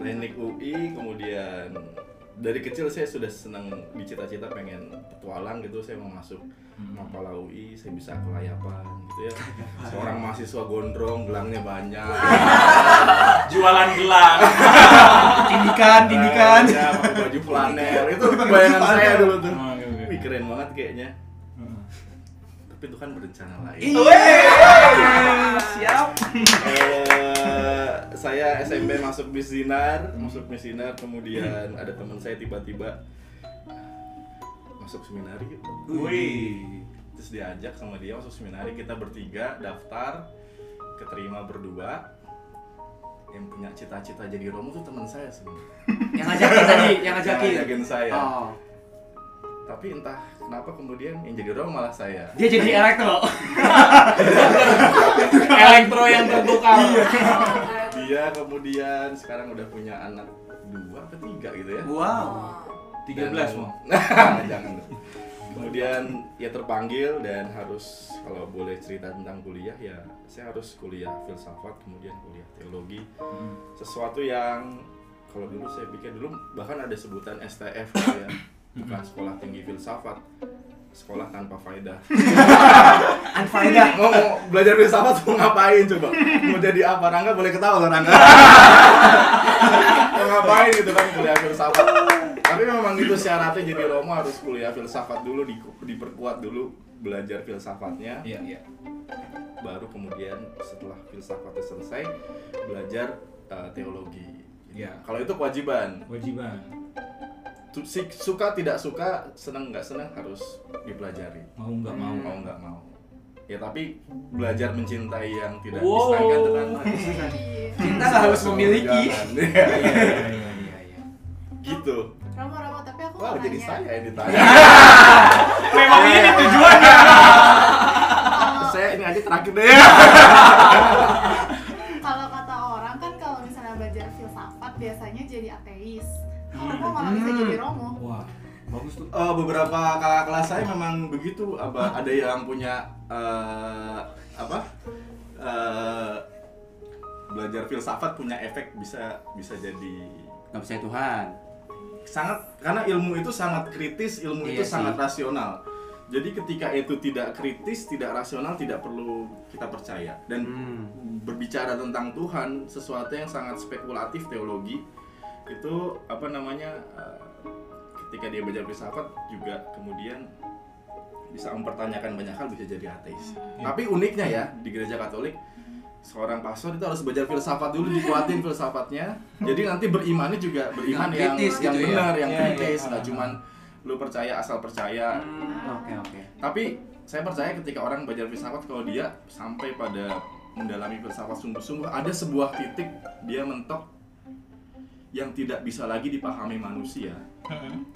[SPEAKER 3] teknik UI kemudian dari kecil saya sudah senang di cita-cita pengen petualang gitu saya mau masuk
[SPEAKER 1] Hmm.
[SPEAKER 3] Mapala UI saya bisa kelayapan gitu ya seorang mahasiswa gondrong gelangnya banyak
[SPEAKER 1] Jualan gelang.
[SPEAKER 2] Tindikan, tindikan.
[SPEAKER 3] Eh, ya, pakai baju flanel itu bayangan saya dulu tuh
[SPEAKER 1] Oh, oke, oke.
[SPEAKER 3] wih keren banget kayaknya tapi Tuhan berencana lain
[SPEAKER 1] Iya.
[SPEAKER 2] Siap.
[SPEAKER 3] Eh, saya SMP masuk Miss Dinar, masuk Miss Dinar, kemudian ada teman saya tiba-tiba masuk seminari yuk."
[SPEAKER 1] Wih.
[SPEAKER 3] Terus diajak sama dia masuk seminari, kita bertiga daftar, keterima berdua. Yang punya cita-cita jadi romo tuh teman saya sebenarnya.
[SPEAKER 2] Yang ngajakin tadi, yang ngajakin.
[SPEAKER 3] Yang ngajakin saya.
[SPEAKER 2] Oh,
[SPEAKER 3] Tapi entah kenapa kemudian yang jadi romo malah saya.
[SPEAKER 2] dia jadi elektro.
[SPEAKER 1] Elektro yang tertukar.
[SPEAKER 3] Dia kemudian sekarang udah punya anak dua atau tiga gitu ya.
[SPEAKER 2] Wow.
[SPEAKER 1] 13 mau.
[SPEAKER 3] jangan kemudian ya terpanggil dan harus kalau boleh cerita tentang kuliah ya saya harus kuliah filsafat kemudian kuliah teologi sesuatu yang kalau dulu saya pikir dulu bahkan ada sebutan STF gitu ya bukan sekolah tinggi filsafat sekolah tanpa faedah
[SPEAKER 2] Anfaida.
[SPEAKER 3] mau, mau belajar filsafat mau ngapain coba mau jadi apa Rangga boleh ketawa loh Rangga mau ngapain gitu kan kuliah filsafat tapi memang gitu syaratnya jadi Romo harus kuliah filsafat dulu di, diperkuat dulu belajar filsafatnya
[SPEAKER 1] Iya, iya.
[SPEAKER 3] baru kemudian setelah filsafatnya selesai belajar eh, teologi
[SPEAKER 1] Iya.
[SPEAKER 3] kalau itu kewajiban
[SPEAKER 1] Wajiban.
[SPEAKER 3] tu- si- suka tidak suka senang nggak senang harus dipelajari
[SPEAKER 1] mau nggak mau
[SPEAKER 3] mau nggak mau ya tapi belajar mencintai yang tidak
[SPEAKER 1] Wow.
[SPEAKER 3] diserahkan dengan
[SPEAKER 2] Cinta harus memiliki.
[SPEAKER 3] Iya, iya,
[SPEAKER 1] Iya,
[SPEAKER 3] iya.
[SPEAKER 1] iya, iya, iya.
[SPEAKER 3] gitu
[SPEAKER 5] Romo Romo tapi aku
[SPEAKER 3] wow
[SPEAKER 5] mau
[SPEAKER 3] jadi
[SPEAKER 5] nanya.
[SPEAKER 3] saya yang ditanya
[SPEAKER 2] Iya.
[SPEAKER 1] Memang ini tujuannya.
[SPEAKER 5] Kalau-
[SPEAKER 3] saya ini aja terakhir deh
[SPEAKER 5] Kalau kata orang kan kalau misalnya belajar filsafat biasanya jadi ateis. Kalau Romo malah bisa
[SPEAKER 2] Hmm.
[SPEAKER 5] jadi Romo.
[SPEAKER 1] Wah, bagus tuh.
[SPEAKER 3] Eh, beberapa kakak kelas saya memang begitu apa ada yang punya eh, apa eh, belajar filsafat punya efek bisa bisa jadi
[SPEAKER 2] nggak percaya Tuhan
[SPEAKER 3] sangat karena ilmu itu sangat kritis, ilmu
[SPEAKER 2] Iya
[SPEAKER 3] itu
[SPEAKER 2] sih.
[SPEAKER 3] sangat rasional. Jadi ketika itu tidak kritis, tidak rasional, tidak perlu kita percaya. Dan
[SPEAKER 2] Hmm.
[SPEAKER 3] berbicara tentang Tuhan, sesuatu yang sangat spekulatif teologi itu apa namanya? eh, ketika dia belajar filsafat juga kemudian bisa mempertanyakan banyak hal bisa jadi ateis.
[SPEAKER 2] Hmm.
[SPEAKER 3] Tapi uniknya ya di gereja Katolik seorang pastor itu harus belajar filsafat dulu dikuatin filsafatnya. Jadi nanti berimannya juga beriman
[SPEAKER 2] Yang
[SPEAKER 3] yang
[SPEAKER 2] kritis
[SPEAKER 3] yang
[SPEAKER 2] gitu ya.
[SPEAKER 3] benar, yang
[SPEAKER 1] Iya, iya.
[SPEAKER 3] kritis, nggak cuman lu percaya asal percaya.
[SPEAKER 2] Hmm, oke oke
[SPEAKER 3] Tapi saya percaya ketika orang belajar filsafat kalau dia sampai pada mendalami filsafat sungguh-sungguh ada sebuah titik dia mentok yang tidak bisa lagi dipahami manusia.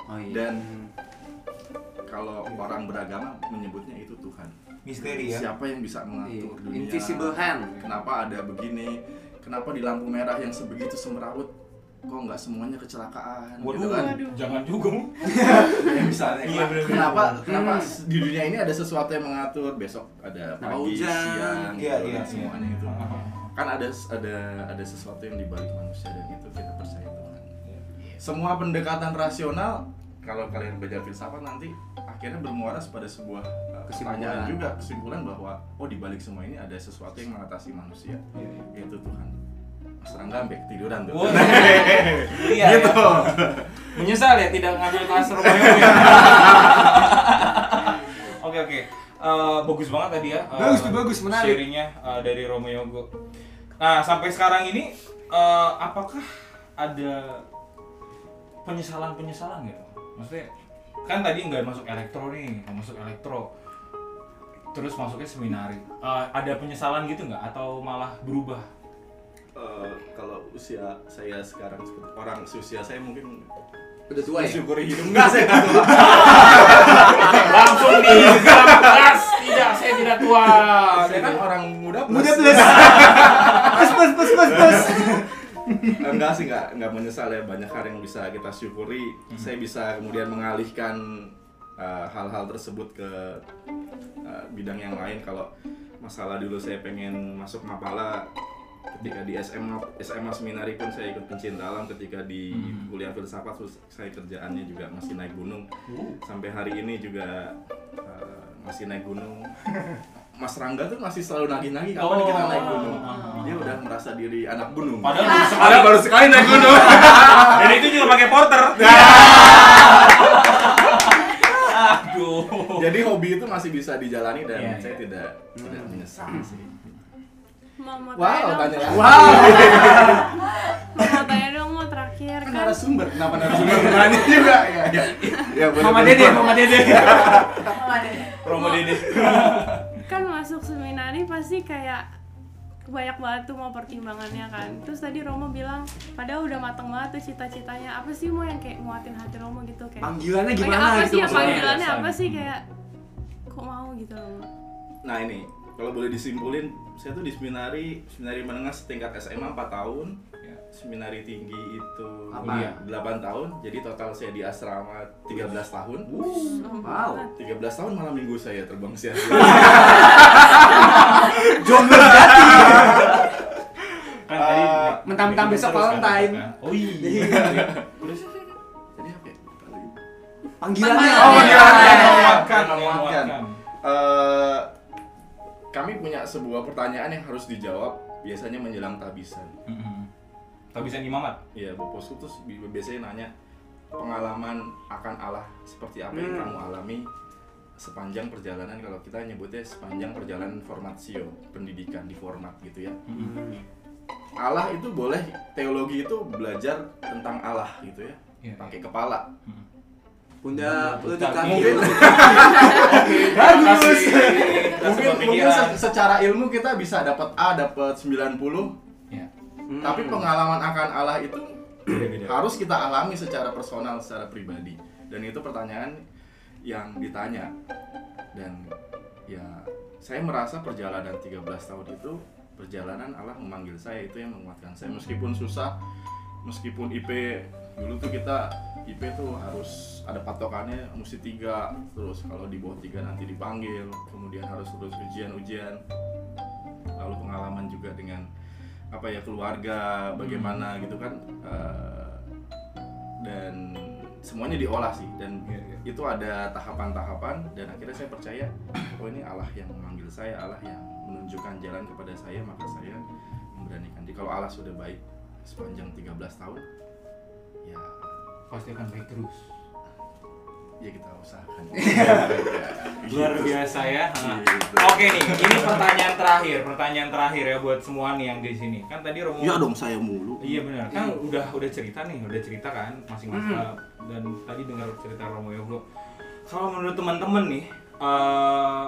[SPEAKER 2] oh iya
[SPEAKER 3] Dan- Kalau orang beragama menyebutnya itu Tuhan.
[SPEAKER 1] Misteri ya.
[SPEAKER 3] Siapa yang bisa
[SPEAKER 2] Iya.
[SPEAKER 3] mengatur dunia?
[SPEAKER 2] invisible hand
[SPEAKER 3] Kenapa ada begini? Kenapa di lampu merah yang sebegitu semrawut kok nggak semuanya kecelakaan? gitu
[SPEAKER 1] Waduh,
[SPEAKER 3] kan?
[SPEAKER 1] jangan juga. Mu.
[SPEAKER 3] Ya, misalnya
[SPEAKER 1] Iya,
[SPEAKER 3] kenapa-
[SPEAKER 1] bener-bener.
[SPEAKER 3] kenapa kenapa
[SPEAKER 2] Hmm.
[SPEAKER 3] di dunia ini ada sesuatu yang mengatur besok ada
[SPEAKER 2] Kenapa
[SPEAKER 3] pagi
[SPEAKER 2] hujan?
[SPEAKER 3] siang
[SPEAKER 1] Iya,
[SPEAKER 3] gitu,
[SPEAKER 1] iya,
[SPEAKER 3] dan semuanya
[SPEAKER 1] iya.
[SPEAKER 3] itu
[SPEAKER 1] Aha.
[SPEAKER 3] kan ada ada ada sesuatu yang dibalik manusia dan itu kita percaya Tuhan
[SPEAKER 1] Iya.
[SPEAKER 3] semua pendekatan rasional kalau kalian belajar filsafat nanti akhirnya bermuara pada sebuah uh,
[SPEAKER 2] Kesimpulan.
[SPEAKER 3] pertanyaan juga kesimpulan bahwa oh dibalik semua ini ada sesuatu yang mengatasi manusia
[SPEAKER 1] Iya,
[SPEAKER 3] yaitu Tuhan serangga ambek tiduran tuh
[SPEAKER 1] Wah. Iya.
[SPEAKER 3] gitu
[SPEAKER 1] ya. Menyesal ya tidak ngambil kelas Romawi. Oke oke. Eh, bagus banget tadi ya. eh,
[SPEAKER 2] Bagus tuh, bagus, menarik.
[SPEAKER 1] Sharingnya eh, dari Romo Yogo. Nah sampai sekarang ini eh, apakah ada penyesalan penyesalan gitu? Maksudnya kan tadi nggak masuk elektro nih, nggak masuk elektro. Terus masuknya seminari. Eh, ada penyesalan gitu nggak? Atau malah berubah?
[SPEAKER 3] Eh, kalau usia saya sekarang seperti orang usia saya mungkin
[SPEAKER 2] udah tua ya
[SPEAKER 3] mensyukuri hidup enggak saya enggak tua.
[SPEAKER 1] Langsung di gas. Tidak, saya tidak tua. Iya, Uh.
[SPEAKER 3] saya kan orang muda plus.
[SPEAKER 2] muda plus plus plus plus plus plus
[SPEAKER 3] Eh, enggak sih enggak enggak menyesal ya banyak hal yang bisa kita syukuri saya bisa kemudian mengalihkan eh, hal-hal tersebut ke eh, bidang yang lain kalau masalah dulu saya pengen masuk mapala ketika di SMA SMA seminari pun saya ikut pencinta alam ketika di
[SPEAKER 1] Hmm.
[SPEAKER 3] kuliah filsafat terus saya kerjaannya juga masih naik gunung sampai hari ini juga eh, masih naik gunung. Mas Rangga tuh masih selalu nagih-nagih kapan kita naik gunung. Dia udah merasa diri anak gunung.
[SPEAKER 2] Ah.
[SPEAKER 1] Padahal baru sekali
[SPEAKER 3] Padahal baru sekali naik gunung.
[SPEAKER 1] Dan itu juga pakai porter. Aduh.
[SPEAKER 3] Jadi hobi itu masih bisa dijalani dan
[SPEAKER 1] Iya,
[SPEAKER 3] saya
[SPEAKER 1] iya.
[SPEAKER 3] tidak tidak menyesal sih.
[SPEAKER 4] Mau mau tanya
[SPEAKER 3] Wow,
[SPEAKER 4] dong,
[SPEAKER 3] tanya lagi. Wow,
[SPEAKER 4] mau tanya dong mau terakhir kan
[SPEAKER 3] narasumber. Kenapa narasumber berani juga? Ya, ya. Ya, boleh,
[SPEAKER 2] mama
[SPEAKER 3] boleh.
[SPEAKER 2] dede mama dede
[SPEAKER 1] Kan
[SPEAKER 3] Ah.
[SPEAKER 1] Promo Dede.
[SPEAKER 4] kan masuk seminari pasti kayak banyak banget tuh mau pertimbangannya kan terus tadi Romo bilang padahal udah mateng banget tuh cita-citanya apa sih mau yang kayak nguatin hati Romo gitu kayak
[SPEAKER 2] panggilannya
[SPEAKER 4] kayak
[SPEAKER 2] gimana gitu
[SPEAKER 4] apa sih ya
[SPEAKER 2] maksudnya?
[SPEAKER 4] panggilannya apa
[SPEAKER 1] Alasan.
[SPEAKER 4] sih kayak kok mau gitu Romo
[SPEAKER 3] Nah, ini kalau boleh disimpulin, saya tuh di seminari seminari menengah setingkat SMA 4 tahun. Ya, Seminari tinggi itu
[SPEAKER 2] Apa?
[SPEAKER 3] 8 tahun. Jadi total saya di asrama 13 tahun.
[SPEAKER 2] wow
[SPEAKER 3] 13 tahun malam minggu saya terbang siang.
[SPEAKER 2] jomblo jati
[SPEAKER 1] Kan tadi
[SPEAKER 3] Eh,
[SPEAKER 2] mentang-mentang
[SPEAKER 1] Terus
[SPEAKER 2] besok
[SPEAKER 1] kan,
[SPEAKER 2] Valentine.
[SPEAKER 1] Oh iya.
[SPEAKER 3] Terus tadi apa ya? Lupa lagi.
[SPEAKER 2] panggilannya
[SPEAKER 7] Oh,
[SPEAKER 1] Iya.
[SPEAKER 7] panggilannya.
[SPEAKER 1] Menguatkan,
[SPEAKER 3] iya. Menguatkan.
[SPEAKER 1] menguatkan.
[SPEAKER 3] Eh, kami punya sebuah pertanyaan yang harus dijawab biasanya menjelang tabisan.
[SPEAKER 1] Mm-mm. Tabisan imamat.
[SPEAKER 3] Iya, Bapak Uskup tuh bi- biasanya nanya pengalaman akan Allah seperti apa yang
[SPEAKER 2] Hmm.
[SPEAKER 3] kamu alami sepanjang perjalanan kalau kita nyebutnya sepanjang perjalanan formatio pendidikan di format gitu ya Allah itu boleh teologi itu belajar tentang Allah gitu ya
[SPEAKER 1] Iya.
[SPEAKER 3] pakai kepala
[SPEAKER 1] Mm.
[SPEAKER 2] pundak lutut
[SPEAKER 1] Pundak.
[SPEAKER 2] kaki
[SPEAKER 1] Mungkin-
[SPEAKER 3] Bagus.
[SPEAKER 1] Kita
[SPEAKER 3] mungkin
[SPEAKER 1] sebuah
[SPEAKER 3] mungkin
[SPEAKER 1] pikiran.
[SPEAKER 3] se- secara ilmu kita bisa dapat A dapat 90
[SPEAKER 1] Ya.
[SPEAKER 2] Hmm.
[SPEAKER 3] tapi pengalaman akan Allah itu
[SPEAKER 1] Iya.
[SPEAKER 3] harus kita alami secara personal secara pribadi dan itu pertanyaan yang ditanya dan ya saya merasa perjalanan 13 tahun itu perjalanan Allah memanggil saya itu yang menguatkan saya meskipun susah meskipun IP dulu tuh kita IP tuh harus ada patokannya mesti tiga terus kalau di bawah tiga nanti dipanggil kemudian harus terus ujian-ujian lalu pengalaman juga dengan apa ya keluarga bagaimana gitu kan eh, dan semuanya diolah sih dan
[SPEAKER 1] Iya, iya.
[SPEAKER 3] itu ada tahapan-tahapan dan akhirnya saya percaya oh ini Allah yang memanggil saya Allah yang menunjukkan jalan kepada saya maka saya memberanikan diri kalau Allah sudah baik sepanjang 13 tahun ya
[SPEAKER 1] Pasti akan baik terus.
[SPEAKER 3] ya kita usahakan
[SPEAKER 1] Luar
[SPEAKER 8] Gitu.
[SPEAKER 1] biasa ya. Ha.
[SPEAKER 3] Gitu.
[SPEAKER 1] Oke nih, ini pertanyaan terakhir, pertanyaan terakhir ya buat semua nih yang di sini. Kan tadi Romo
[SPEAKER 3] ya dong saya mulu
[SPEAKER 1] Iya benar. Kan udah udah cerita nih, udah cerita kan masing-masing
[SPEAKER 8] Hmm.
[SPEAKER 1] dan tadi dengar cerita Romo Yogyo. Kalau menurut teman-teman nih, eh,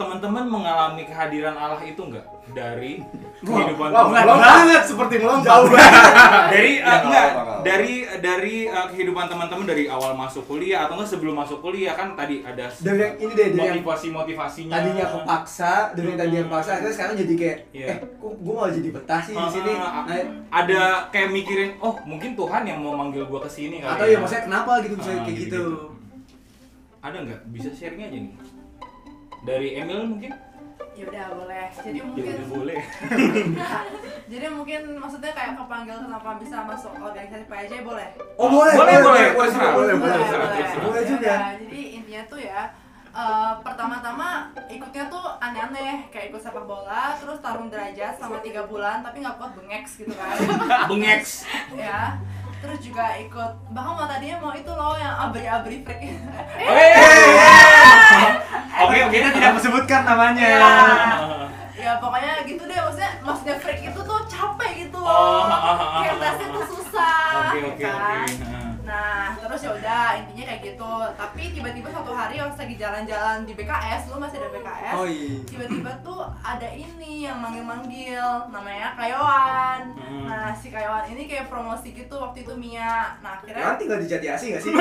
[SPEAKER 1] teman-teman mengalami kehadiran Allah itu enggak dari kehidupan teman-teman?
[SPEAKER 3] banget seperti melompat jauh banget
[SPEAKER 1] dari eh,
[SPEAKER 3] Ya,
[SPEAKER 8] Iya,
[SPEAKER 1] enggak,
[SPEAKER 3] nggak apa-apa.
[SPEAKER 1] dari dari eh, kehidupan teman-teman dari awal masuk kuliah atau enggak sebelum masuk kuliah kan tadi ada s-
[SPEAKER 8] Dari yang ini deh, dari yang
[SPEAKER 1] motivasi-motivasinya.
[SPEAKER 8] tadinya kepaksa, dari tadi yang paksa, akhirnya sekarang jadi kayak,
[SPEAKER 1] Hmm. Iya.
[SPEAKER 8] eh, kok gue mau jadi betah sih di sini.
[SPEAKER 1] Ah,
[SPEAKER 8] Nah,
[SPEAKER 1] ada kayak mikirin, oh mungkin Tuhan yang mau manggil gua ke sini kali.
[SPEAKER 8] atau ya maksudnya kenapa gitu bisa
[SPEAKER 1] Oh, iya. Ah,
[SPEAKER 8] kayak gitu.
[SPEAKER 1] gitu-gitu. Ada nggak? Bisa sharing aja nih. Dari Emil mungkin?
[SPEAKER 7] ya udah boleh jadi
[SPEAKER 1] Ya
[SPEAKER 7] mungkin
[SPEAKER 1] udah boleh.
[SPEAKER 7] jadi mungkin maksudnya kayak kepanggil kenapa bisa masuk organisasi PJ boleh
[SPEAKER 8] Oh boleh,
[SPEAKER 1] Boleh, boleh,
[SPEAKER 8] boleh,
[SPEAKER 1] terserah.
[SPEAKER 8] boleh, boleh,
[SPEAKER 1] Boleh,
[SPEAKER 8] boleh.
[SPEAKER 1] boleh.
[SPEAKER 8] Boleh juga.
[SPEAKER 7] Ya, jadi intinya tuh ya eh, pertama-tama ikutnya tuh aneh-aneh kayak ikut sepak bola terus tarung derajat selama tiga bulan tapi nggak kuat bengeks gitu kan
[SPEAKER 1] Bengeks.
[SPEAKER 7] ya terus juga ikut bahkan mau tadinya mau itu loh yang abri-abri freak
[SPEAKER 1] Eh. Oke, oke.
[SPEAKER 7] iya.
[SPEAKER 8] Kita tidak disebutkan namanya.
[SPEAKER 7] ya pokoknya gitu deh maksudnya maksudnya freak itu tuh capek gitu
[SPEAKER 1] Oh, ah,
[SPEAKER 7] loh
[SPEAKER 1] ah, ah,
[SPEAKER 7] kayak
[SPEAKER 1] ah,
[SPEAKER 7] tesnya
[SPEAKER 1] ah.
[SPEAKER 7] tuh susah
[SPEAKER 1] Oke,
[SPEAKER 7] ya
[SPEAKER 1] oke,
[SPEAKER 7] kan?
[SPEAKER 1] oke. Ah.
[SPEAKER 7] Nah, terus ya udah intinya kayak gitu. Tapi tiba-tiba satu hari waktu lagi jalan-jalan di BKS, lu masih ada BKS.
[SPEAKER 8] Oh iya.
[SPEAKER 7] Tiba-tiba tuh ada ini yang manggil-manggil, namanya Kayoan.
[SPEAKER 1] Hmm.
[SPEAKER 7] Nah, si Kayoan ini kayak promosi gitu waktu itu Mia. Nah,
[SPEAKER 8] Kan
[SPEAKER 7] akhirnya
[SPEAKER 8] tinggal di Jatiasi nggak sih?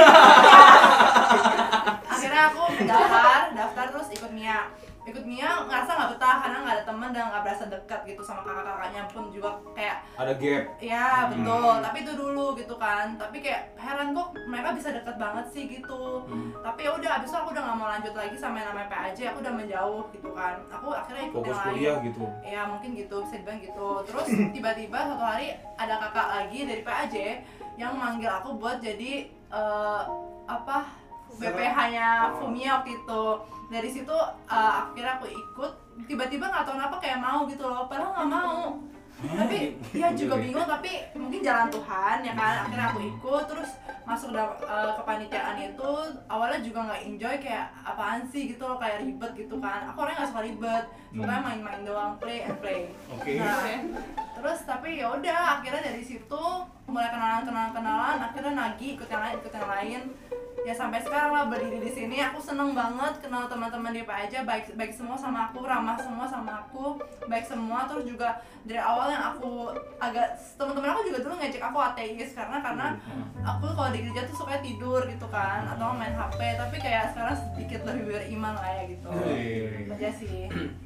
[SPEAKER 7] akhirnya aku daftar, daftar terus ikut Mia. Ikut Mia ngerasa nggak betah karena nggak ada teman dan nggak berasa dekat gitu sama kakak-kakaknya pun juga kayak
[SPEAKER 1] Ada gap. Hmm.
[SPEAKER 7] Ya betul, tapi itu dulu gitu kan. Tapi kayak heran kok mereka bisa deket banget sih gitu.
[SPEAKER 1] Hmm.
[SPEAKER 7] Tapi ya udah abis itu aku udah nggak mau lanjut lagi sama yang namanya PAJ, aku udah menjauh gitu kan. Aku akhirnya ikut
[SPEAKER 1] Fokus
[SPEAKER 7] yang
[SPEAKER 1] kuliah
[SPEAKER 7] lain.
[SPEAKER 1] gitu.
[SPEAKER 7] Ya mungkin gitu, bisa dibilang gitu. Terus tiba-tiba satu hari ada kakak lagi dari PAJ yang manggil aku buat jadi eh, apa BPH-nya Fumia waktu itu. Dari situ eh, akhirnya aku ikut. Tiba-tiba nggak tahu kenapa kayak mau gitu loh, padahal nggak mau tapi ya juga bingung tapi mungkin jalan Tuhan ya kan akhirnya aku ikut terus masuk dalam eh, kepanitiaan itu awalnya juga nggak enjoy kayak apaan sih gitu loh kayak ribet gitu kan aku orangnya nggak suka ribet suka
[SPEAKER 1] Hmm.
[SPEAKER 7] main-main doang play and play
[SPEAKER 1] Oke.
[SPEAKER 7] Nah, terus tapi ya udah akhirnya dari situ mulai kenalan kenalan kenalan akhirnya nagih ikut yang lain ikut yang lain ya sampai sekarang lah berdiri di sini aku seneng banget kenal teman-teman di apa aja baik baik semua sama aku ramah semua sama aku baik semua terus juga dari awal yang aku agak teman-teman aku juga dulu ngejek aku ateis karena karena
[SPEAKER 1] Hmm.
[SPEAKER 7] aku kalau di gereja tuh suka tidur gitu kan atau main hp tapi kayak sekarang sedikit lebih beriman lah ya gitu
[SPEAKER 1] Hmm.
[SPEAKER 7] Itu aja sih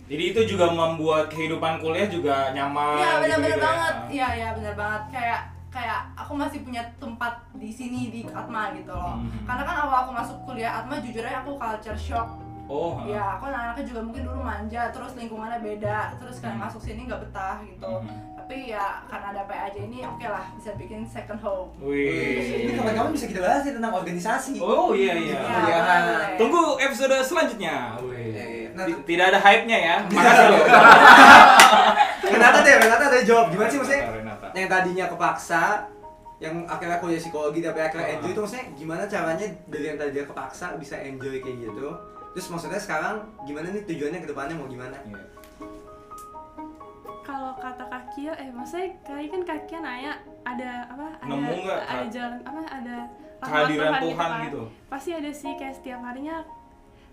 [SPEAKER 1] Jadi itu juga membuat kehidupan kuliah juga nyaman.
[SPEAKER 7] Iya benar-benar
[SPEAKER 1] gitu-gitu ya.
[SPEAKER 7] banget. Iya iya benar banget. Kayak kayak aku masih punya tempat di sini di Atma gitu loh.
[SPEAKER 1] Hmm.
[SPEAKER 7] Karena kan awal aku masuk kuliah Atma jujur aja aku culture shock.
[SPEAKER 1] Oh. ah.
[SPEAKER 7] Ya aku anak-anaknya juga mungkin dulu manja, terus lingkungannya beda, terus kan
[SPEAKER 1] Hmm.
[SPEAKER 7] masuk sini nggak betah gitu.
[SPEAKER 1] Hmm.
[SPEAKER 7] Tapi ya karena ada PA aja ini oke lah bisa bikin second home.
[SPEAKER 8] Ini
[SPEAKER 1] Wih.
[SPEAKER 8] kapan-kapan bisa kita bahas ya tentang organisasi.
[SPEAKER 1] Iya. Oh iya
[SPEAKER 8] Iya.
[SPEAKER 1] iya.
[SPEAKER 7] Ya,
[SPEAKER 8] Kuliahan.
[SPEAKER 7] boleh.
[SPEAKER 1] Tunggu episode selanjutnya.
[SPEAKER 8] Iya,
[SPEAKER 1] Wih.
[SPEAKER 8] iya. Nah,
[SPEAKER 1] Ti- Tidak ada hype-nya ya. Makasih loh.
[SPEAKER 8] Renata deh, Renata deh jawab gimana sih maksudnya?
[SPEAKER 1] Renata.
[SPEAKER 8] Yang tadinya kepaksa, yang akhirnya kuliah psikologi tapi akhirnya enjoy itu maksudnya gimana caranya dari yang tadinya kepaksa bisa enjoy kayak gitu? Terus maksudnya sekarang gimana nih tujuannya ke depannya mau gimana?
[SPEAKER 1] Iya.
[SPEAKER 4] kalau kata kaki eh maksudnya kali kan kaki nanya ada apa ada
[SPEAKER 1] Nemu nggak,
[SPEAKER 4] ada
[SPEAKER 1] Kak?
[SPEAKER 4] jalan apa ada rahmat
[SPEAKER 1] kehadiran Tuhan
[SPEAKER 4] kan.
[SPEAKER 1] gitu.
[SPEAKER 4] pasti ada sih kayak setiap harinya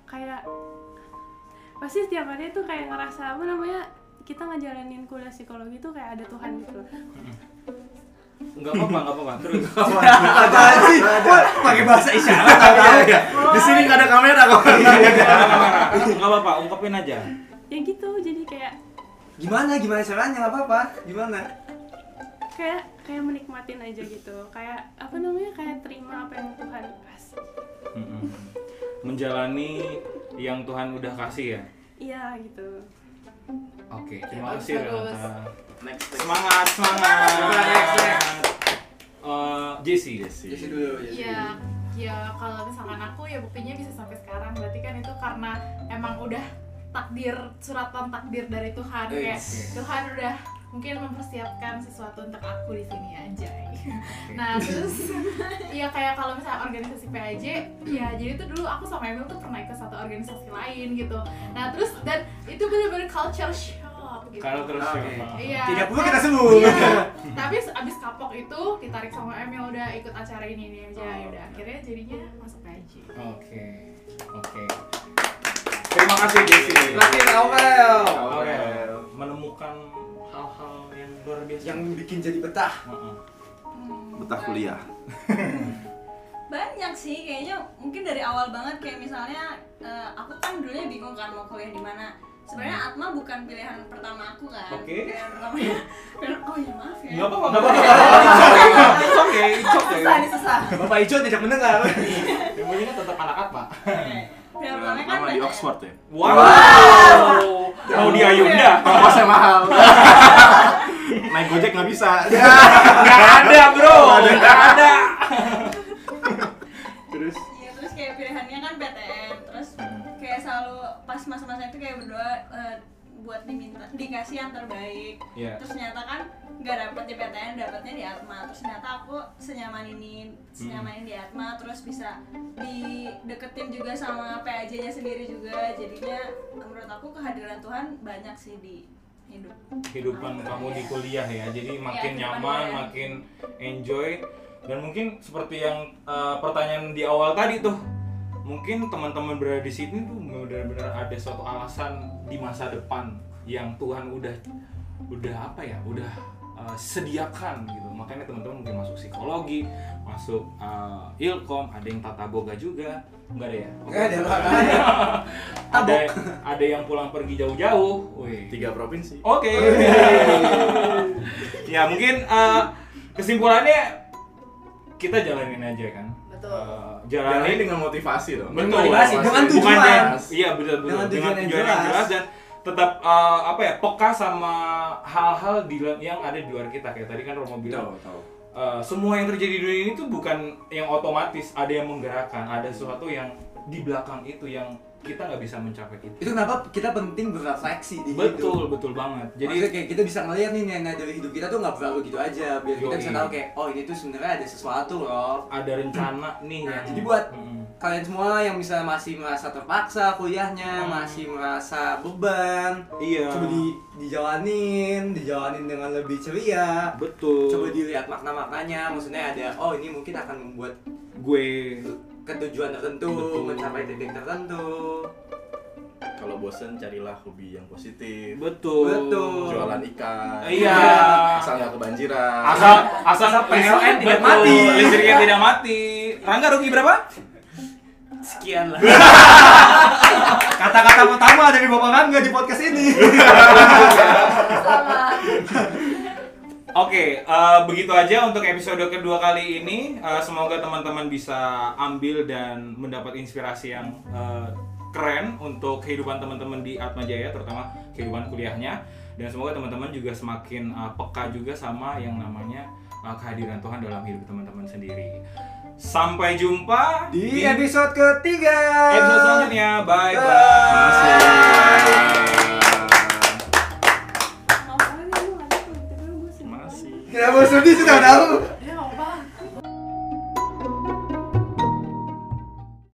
[SPEAKER 4] kayak pasti setiap hari tuh kayak ngerasa apa namanya kita ngejalanin kuliah psikologi tuh kayak ada Tuhan gitu loh.
[SPEAKER 1] Enggak apa-apa, enggak apa-apa. Terus.
[SPEAKER 2] Apa sih? Pakai bahasa isyarat tahu ya?
[SPEAKER 3] Di sini nggak ada kamera kok.
[SPEAKER 1] Enggak apa-apa, ungkapin aja.
[SPEAKER 4] ya gitu jadi kayak
[SPEAKER 2] Gimana gimana caranya? Enggak apa-apa. Gimana?
[SPEAKER 4] kayak kayak menikmatin aja gitu kayak apa namanya kayak terima apa yang Tuhan kasih
[SPEAKER 1] Mm-mm. Menjalani yang Tuhan udah kasih ya.
[SPEAKER 4] iya gitu
[SPEAKER 1] Oke,
[SPEAKER 9] Ya,
[SPEAKER 1] terima kasih
[SPEAKER 9] bagus,
[SPEAKER 1] Renata.
[SPEAKER 3] Next,
[SPEAKER 1] Semangat, semangat.
[SPEAKER 2] Next, next.
[SPEAKER 1] Eh, Jesse.
[SPEAKER 2] Jesse dulu. Jesse dulu.
[SPEAKER 5] Ya, ya kalau misalkan aku ya buktinya bisa sampai sekarang berarti kan itu karena emang udah takdir suratan takdir dari Tuhan kayak Tuhan udah mungkin mempersiapkan sesuatu untuk aku di sini aja. Nah terus ya kayak kalau misalnya organisasi PAJ ya jadi tuh dulu aku sama Emil tuh pernah ikut satu organisasi lain gitu. Nah terus dan itu bener-bener culture shock gitu.
[SPEAKER 1] Kalau terus
[SPEAKER 2] Oke.
[SPEAKER 1] siapa?
[SPEAKER 5] Iya.
[SPEAKER 2] Tidak perlu
[SPEAKER 5] Nah,
[SPEAKER 2] kita sebut.
[SPEAKER 5] Iya. Tapi se- abis kapok itu ditarik sama Emil udah ikut acara ini ini aja ya udah akhirnya jadinya masuk aja.
[SPEAKER 1] Oke. Oke. Terima kasih Jesse.
[SPEAKER 2] Laki Aurel.
[SPEAKER 1] Oke. Menemukan hal-hal yang luar biasa.
[SPEAKER 2] Yang bikin jadi betah.
[SPEAKER 1] Heeh.
[SPEAKER 6] Hmm,
[SPEAKER 3] Betah
[SPEAKER 6] ba-
[SPEAKER 3] kuliah.
[SPEAKER 6] banyak sih kayaknya mungkin dari awal banget kayak misalnya eh, aku kan dulunya bingung kan mau kuliah di mana sebenarnya Atma bukan pilihan pertama aku kan
[SPEAKER 1] Oke.
[SPEAKER 6] pilihan pertamanya pilihan- oh iya maaf ya
[SPEAKER 1] Nggak apa-apa, nggak apa-apa. It's okay, it's okay.
[SPEAKER 9] susah nih susah
[SPEAKER 2] Bapak Ijo tidak mendengar.
[SPEAKER 1] Yang punya tetap anak-anak, Pak.
[SPEAKER 6] Oke. pilihan pertamanya kan
[SPEAKER 3] Nama di
[SPEAKER 6] banyak.
[SPEAKER 3] Oxford ya.
[SPEAKER 1] Wow. Mau di Ayunda.
[SPEAKER 3] Kosnya mahal. Naik gojek nggak bisa.
[SPEAKER 1] Enggak ada, Bro. Enggak ada.
[SPEAKER 2] Terus
[SPEAKER 6] Iya terus kayak pilihannya kan PTN terus kayak selalu pas masa-masa itu kayak berdoa eh, buat diminta dikasih yang terbaik
[SPEAKER 1] Iya.
[SPEAKER 6] terus ternyata kan nggak dapet di PTN dapetnya di Atma terus ternyata aku senyaman ini senyaman ini di Atma terus bisa dideketin juga sama PAJ nya sendiri juga jadinya menurut aku kehadiran Tuhan banyak sih di hidup
[SPEAKER 1] kehidupan kamu di kuliah ya jadi makin
[SPEAKER 6] kehidupan
[SPEAKER 1] nyaman
[SPEAKER 6] kuliah.
[SPEAKER 1] makin enjoy dan mungkin seperti yang uh, pertanyaan di awal tadi tuh mungkin teman-teman berada di sini tuh benar-benar ada suatu alasan di masa depan yang Tuhan udah udah apa ya udah uh, sediakan gitu makanya teman-teman mungkin masuk psikologi masuk uh, ilkom ada yang tata boga juga enggak ada ya
[SPEAKER 2] Nggak ada, Pak.
[SPEAKER 1] ada ada yang pulang pergi jauh-jauh wih
[SPEAKER 3] Tiga provinsi.
[SPEAKER 1] Oke. ya mungkin eh, kesimpulannya kita jalanin aja kan.
[SPEAKER 9] Betul.
[SPEAKER 1] Eh,
[SPEAKER 3] Jalani
[SPEAKER 1] jalanin
[SPEAKER 3] dengan motivasi dong.
[SPEAKER 1] Betul.
[SPEAKER 2] Motivasi, dengan
[SPEAKER 1] Bukan
[SPEAKER 2] tujuan.
[SPEAKER 1] yang- Iya betul betul.
[SPEAKER 2] Dengan tujuan yang jelas.
[SPEAKER 1] dan tetap eh, apa ya peka sama hal-hal di yang ada di luar kita kayak tadi kan Romo bilang
[SPEAKER 2] tahu.
[SPEAKER 1] Uh, semua yang terjadi di dunia ini tuh bukan yang otomatis ada yang menggerakkan ada sesuatu yang di belakang itu yang kita nggak bisa mencapai itu
[SPEAKER 2] Itu kenapa kita penting berefleksi di hidup.
[SPEAKER 1] betul betul banget
[SPEAKER 2] Jadi
[SPEAKER 1] jadi
[SPEAKER 2] kayak kita bisa ngeliat nih nilai dari hidup kita tuh nggak selalu gitu aja biar kita
[SPEAKER 1] Yoi.
[SPEAKER 2] bisa tahu kayak oh ini tuh sebenarnya ada sesuatu loh.
[SPEAKER 1] ada rencana nih
[SPEAKER 2] Nah,
[SPEAKER 1] yang-
[SPEAKER 2] jadi buat
[SPEAKER 1] Mm-mm.
[SPEAKER 2] kalian semua yang misalnya masih merasa terpaksa kuliahnya,
[SPEAKER 1] Hmm.
[SPEAKER 2] masih merasa beban,
[SPEAKER 1] iya
[SPEAKER 2] coba di dijalanin, dijalanin dengan lebih ceria.
[SPEAKER 1] betul
[SPEAKER 2] Coba dilihat makna-maknanya, maksudnya ada oh ini mungkin akan membuat
[SPEAKER 1] gue
[SPEAKER 2] ketujuan tertentu,
[SPEAKER 1] Betul.
[SPEAKER 2] mencapai titik tertentu.
[SPEAKER 3] Kalau bosen carilah hobi yang positif.
[SPEAKER 1] betul
[SPEAKER 2] Betul.
[SPEAKER 3] Jualan ikan.
[SPEAKER 1] Iya.
[SPEAKER 3] Asal nggak kebanjiran.
[SPEAKER 1] asal asal
[SPEAKER 2] PLN tidak
[SPEAKER 1] betul.
[SPEAKER 2] mati.
[SPEAKER 1] listriknya tidak mati Rangga rugi berapa sekian lah
[SPEAKER 2] Kata-kata pertama dari Bapak Rangga di podcast ini.
[SPEAKER 1] Oke, eh, begitu aja untuk episode kedua kali ini. Eh, semoga teman-teman bisa ambil dan mendapat inspirasi yang eh, keren untuk kehidupan teman-teman di Atma Jaya, terutama kehidupan kuliahnya. Dan semoga teman-teman juga semakin eh, peka juga sama yang namanya eh, kehadiran Tuhan dalam hidup teman-teman sendiri. Sampai jumpa
[SPEAKER 2] Di episode ketiga.
[SPEAKER 1] episode selanjutnya. Bye bye.
[SPEAKER 4] mau kalian ya, lu ada tuh tapi gue sedih banget.
[SPEAKER 3] Masih.
[SPEAKER 2] Kenapa sedih sudah tahu?